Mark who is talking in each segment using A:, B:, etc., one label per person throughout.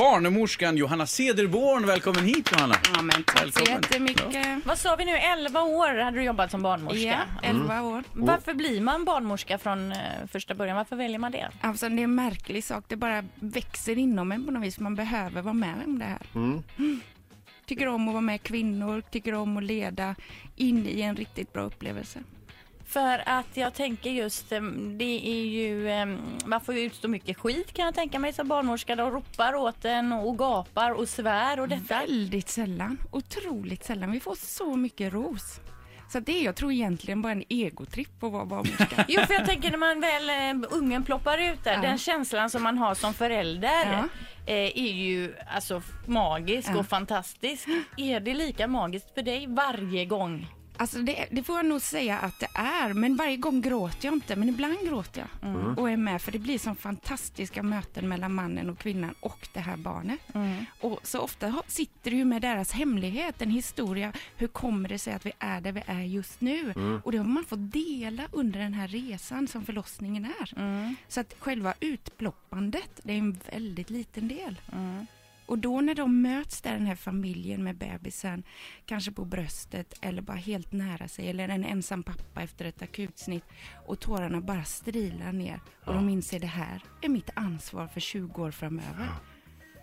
A: Barnmorskan Johanna Cederborn, välkommen hit Johanna.
B: Ja, men tack så
A: Välkommen.
B: jättemycket.
C: Vad sa vi nu, 11 år hade du jobbat som barnmorska?
B: Ja, 11 år.
C: Varför blir man barnmorska från eh, första början? Varför väljer man det?
B: Alltså, det är en märklig sak. Det bara växer inom en på något vis. Man behöver vara med om det här. Mm. Tycker om att vara med kvinnor, tycker om att leda in i en riktigt bra upplevelse.
C: För att jag tänker just, eh, det är ju, eh, man får ju utstå mycket skit kan jag tänka mig som barnmorska. De ropar åt en och gapar och svär och detta.
B: Väldigt sällan, otroligt sällan. Vi får så mycket ros. Så det är, jag tror egentligen bara en egotripp att vara barnmorska.
C: Jo, för jag tänker när man väl, eh, ungen ploppar ut där,
B: Ja.
C: den känslan som man har som förälder
B: Ja.
C: eh, är ju alltså f- magisk
B: Ja.
C: och fantastisk. Är det lika magiskt för dig varje gång?
B: Alltså det, det får jag nog säga att det är, men varje gång gråter jag inte, men ibland gråter jag och är med för det blir som fantastiska möten mellan mannen och kvinnan och det här barnet. Och så ofta ha- sitter du ju med deras hemlighet, en historia, hur kommer det sig att vi är där vi är just nu? Och det har man fått dela under den här resan som förlossningen är. Så att själva utploppandet, det är en väldigt liten del. Och då när de möts där, den här familjen med bebisen, kanske på bröstet eller bara helt nära sig, eller en ensam pappa efter ett akutsnitt och tårarna bara strilar ner och de inser det här är mitt ansvar för 20 år framöver.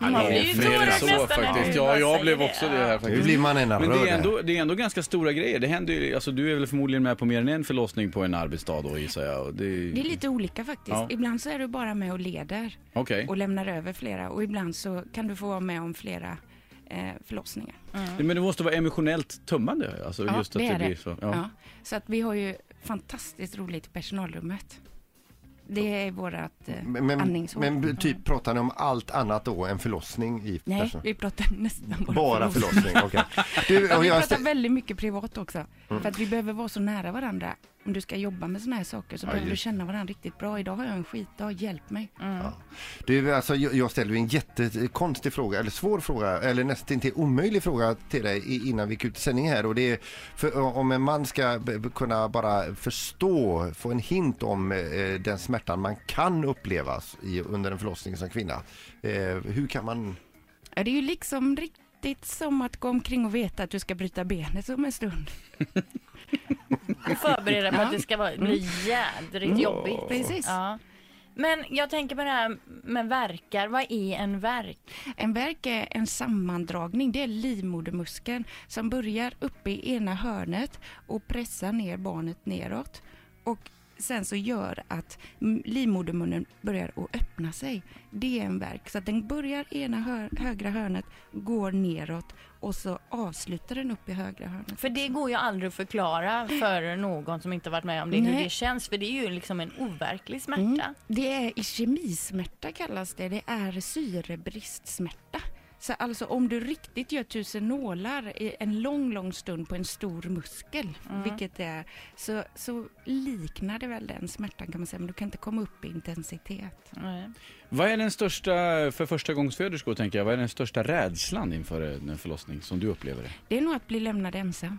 A: Ja,
C: Man blir ju
A: fler än
C: tårögd
A: så
C: nästan när
A: faktiskt.
C: du
A: Ja,
C: bara
A: jag
C: säger
A: blev
C: det.
A: också det här
D: Nu
A: faktiskt.
D: blir man
A: Men
D: enarmad.
A: det är, ändå, det är ändå ganska stora grejer. Det händer ju, alltså, du är väl förmodligen med på mer än en förlossning på en arbetsdag då gissar jag. Och Det...
B: Det är lite olika faktiskt.
A: Ja.
B: Ibland så är du bara med och leder
A: Okej.
B: och lämnar över flera och ibland så kan du få vara med om flera eh, förlossningar.
A: Men det måste vara emotionellt tömmande. Alltså,
B: Ja,
A: just att det, blir så. Ja.
B: Ja. Så att vi har ju fantastiskt roligt i personalrummet. Det är vårat eh,
D: Men, men,
B: andningshål.
D: men typ pratar ni om allt annat då än förlossning i
B: Nej,
D: person?
B: vi pratar nästan bara,
D: Bara förlossning, okej. Du,
B: Ja,
D: och
B: vi
D: jag Mm.
B: pratar
D: stä-
B: väldigt mycket privat också. För att vi behöver vara så nära varandra. Om du ska jobba med såna här saker så behöver du
A: just.
B: känna varandra riktigt bra. Idag har jag en skitdag, hjälp mig.
D: Mm. du, alltså, jag jag ställer ju en jättekonstig fråga, eller svår fråga, eller nästintill omöjlig fråga till dig i- innan vi gick ut i sändning här. Och det är för, om en man ska b- b- kunna bara förstå, få en hint om eh, den smärtan man kan uppleva i, under en förlossning som kvinna. Eh, hur kan man...
B: Ja, Det är ju liksom riktigt som att gå omkring och veta att du ska bryta benet om en stund.
C: och förbereda på
B: Ja. Mm.
C: att det ska vara, bli jädrigt jobbigt.
B: Precis.
C: Ja. Men jag tänker på det här med verkar. Vad är en verk?
B: En värk är en sammandragning, det är livmodermuskeln som börjar uppe i ena hörnet och pressar ner barnet neråt. Och sen så gör att mm, livmodermunnen börjar att öppna sig. Det är en värk. Så att den börjar i ena hör- högra hörnet, går neråt och så avslutar den upp i högra hörnet.
C: För det går ju aldrig att förklara för någon som inte varit med om det, hur
B: Nej.
C: det känns. För det är ju liksom en overklig smärta.
B: Mm. Det är i kemismärta kallas det. Det är syrebristsmärta. Så alltså om du riktigt gör tusen nålar i en lång, lång stund på en stor muskel,
C: Mm.
B: vilket det är, så, så liknar det väl den smärtan kan man säga, men du kan inte komma upp i intensitet.
C: Nej.
A: Vad är den största, för första gångsföderskor tänker jag, vad är den största rädslan inför en förlossning som du upplever det?
B: Det är nog att bli lämnad ensam.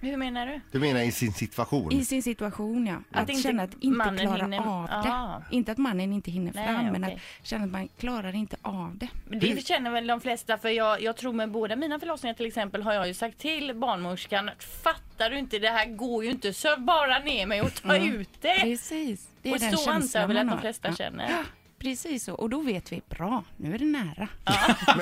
C: Hur menar du?
D: Du menar i sin situation?
B: I sin situation ja. Att,
C: Mm. inte
B: känna att inte
C: mannen
B: klara
C: hinner-
B: av det.
C: Ah.
B: Inte att mannen inte hinner
C: Nej,
B: fram, men
C: okej.
B: att känna att man klarar inte av det.
C: Men Det känner väl de flesta för jag, jag tror med båda mina förlossningar till exempel har jag ju sagt till barnmorskan fattar du inte det här går ju inte så bara ner mig och ta
B: Mm.
C: ut det.
B: Precis. Det är
C: Och
B: den
C: så antar
B: känslan
C: jag väl
B: man
C: att de
B: har.
C: flesta
B: Ja.
C: känner.
B: Precis så, och då vet vi bra, nu är det nära.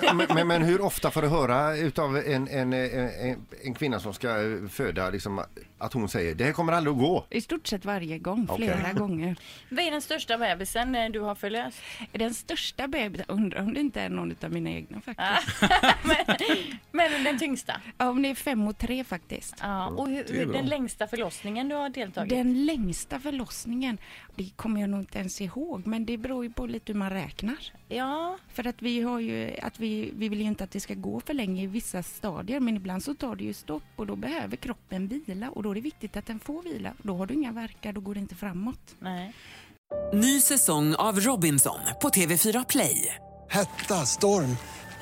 D: men, men- men, men hur ofta får du höra utav en, en, en, en- en kvinna som ska eh, föda liksom, att hon säger det här kommer aldrig att gå?
B: I stort sett varje gång,
D: Okej.
B: flera gånger.
C: Vad är den största bebisen eh, du har förlöst?
B: Den största bebisen, undrar om det inte är någon av mina egna
C: Ah.
B: faktiskt.
C: men, men den tyngsta?
B: Ja, men det är fem och tre faktiskt.
C: Ja, och hur,
A: Det är
C: hur-
A: bra.
C: den längsta förlossningen du har deltagit i?
B: Den längsta förlossningen, det kommer jag nog inte ens ihåg, men det beror ju på och lite hur man räknar.
C: Ja,
B: För att vi har ju, att vi, vi vill ju inte att det ska gå för länge i vissa stadier, men ibland så tar det ju stopp och då behöver kroppen vila och då är det viktigt att den får vila. Då har du inga verkar, då går det inte framåt.
C: nej.
E: Ny säsong av Robinson på TV4 Play.
F: Hetta, storm,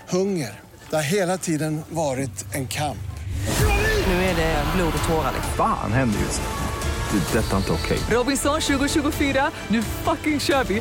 F: hunger. Det har hela tiden varit en kamp.
G: Nu är det blod och tårar. Liksom.
H: Fan händer just det. Det är detta inte okej.
E: Robinson 2024, nu fucking kör vi!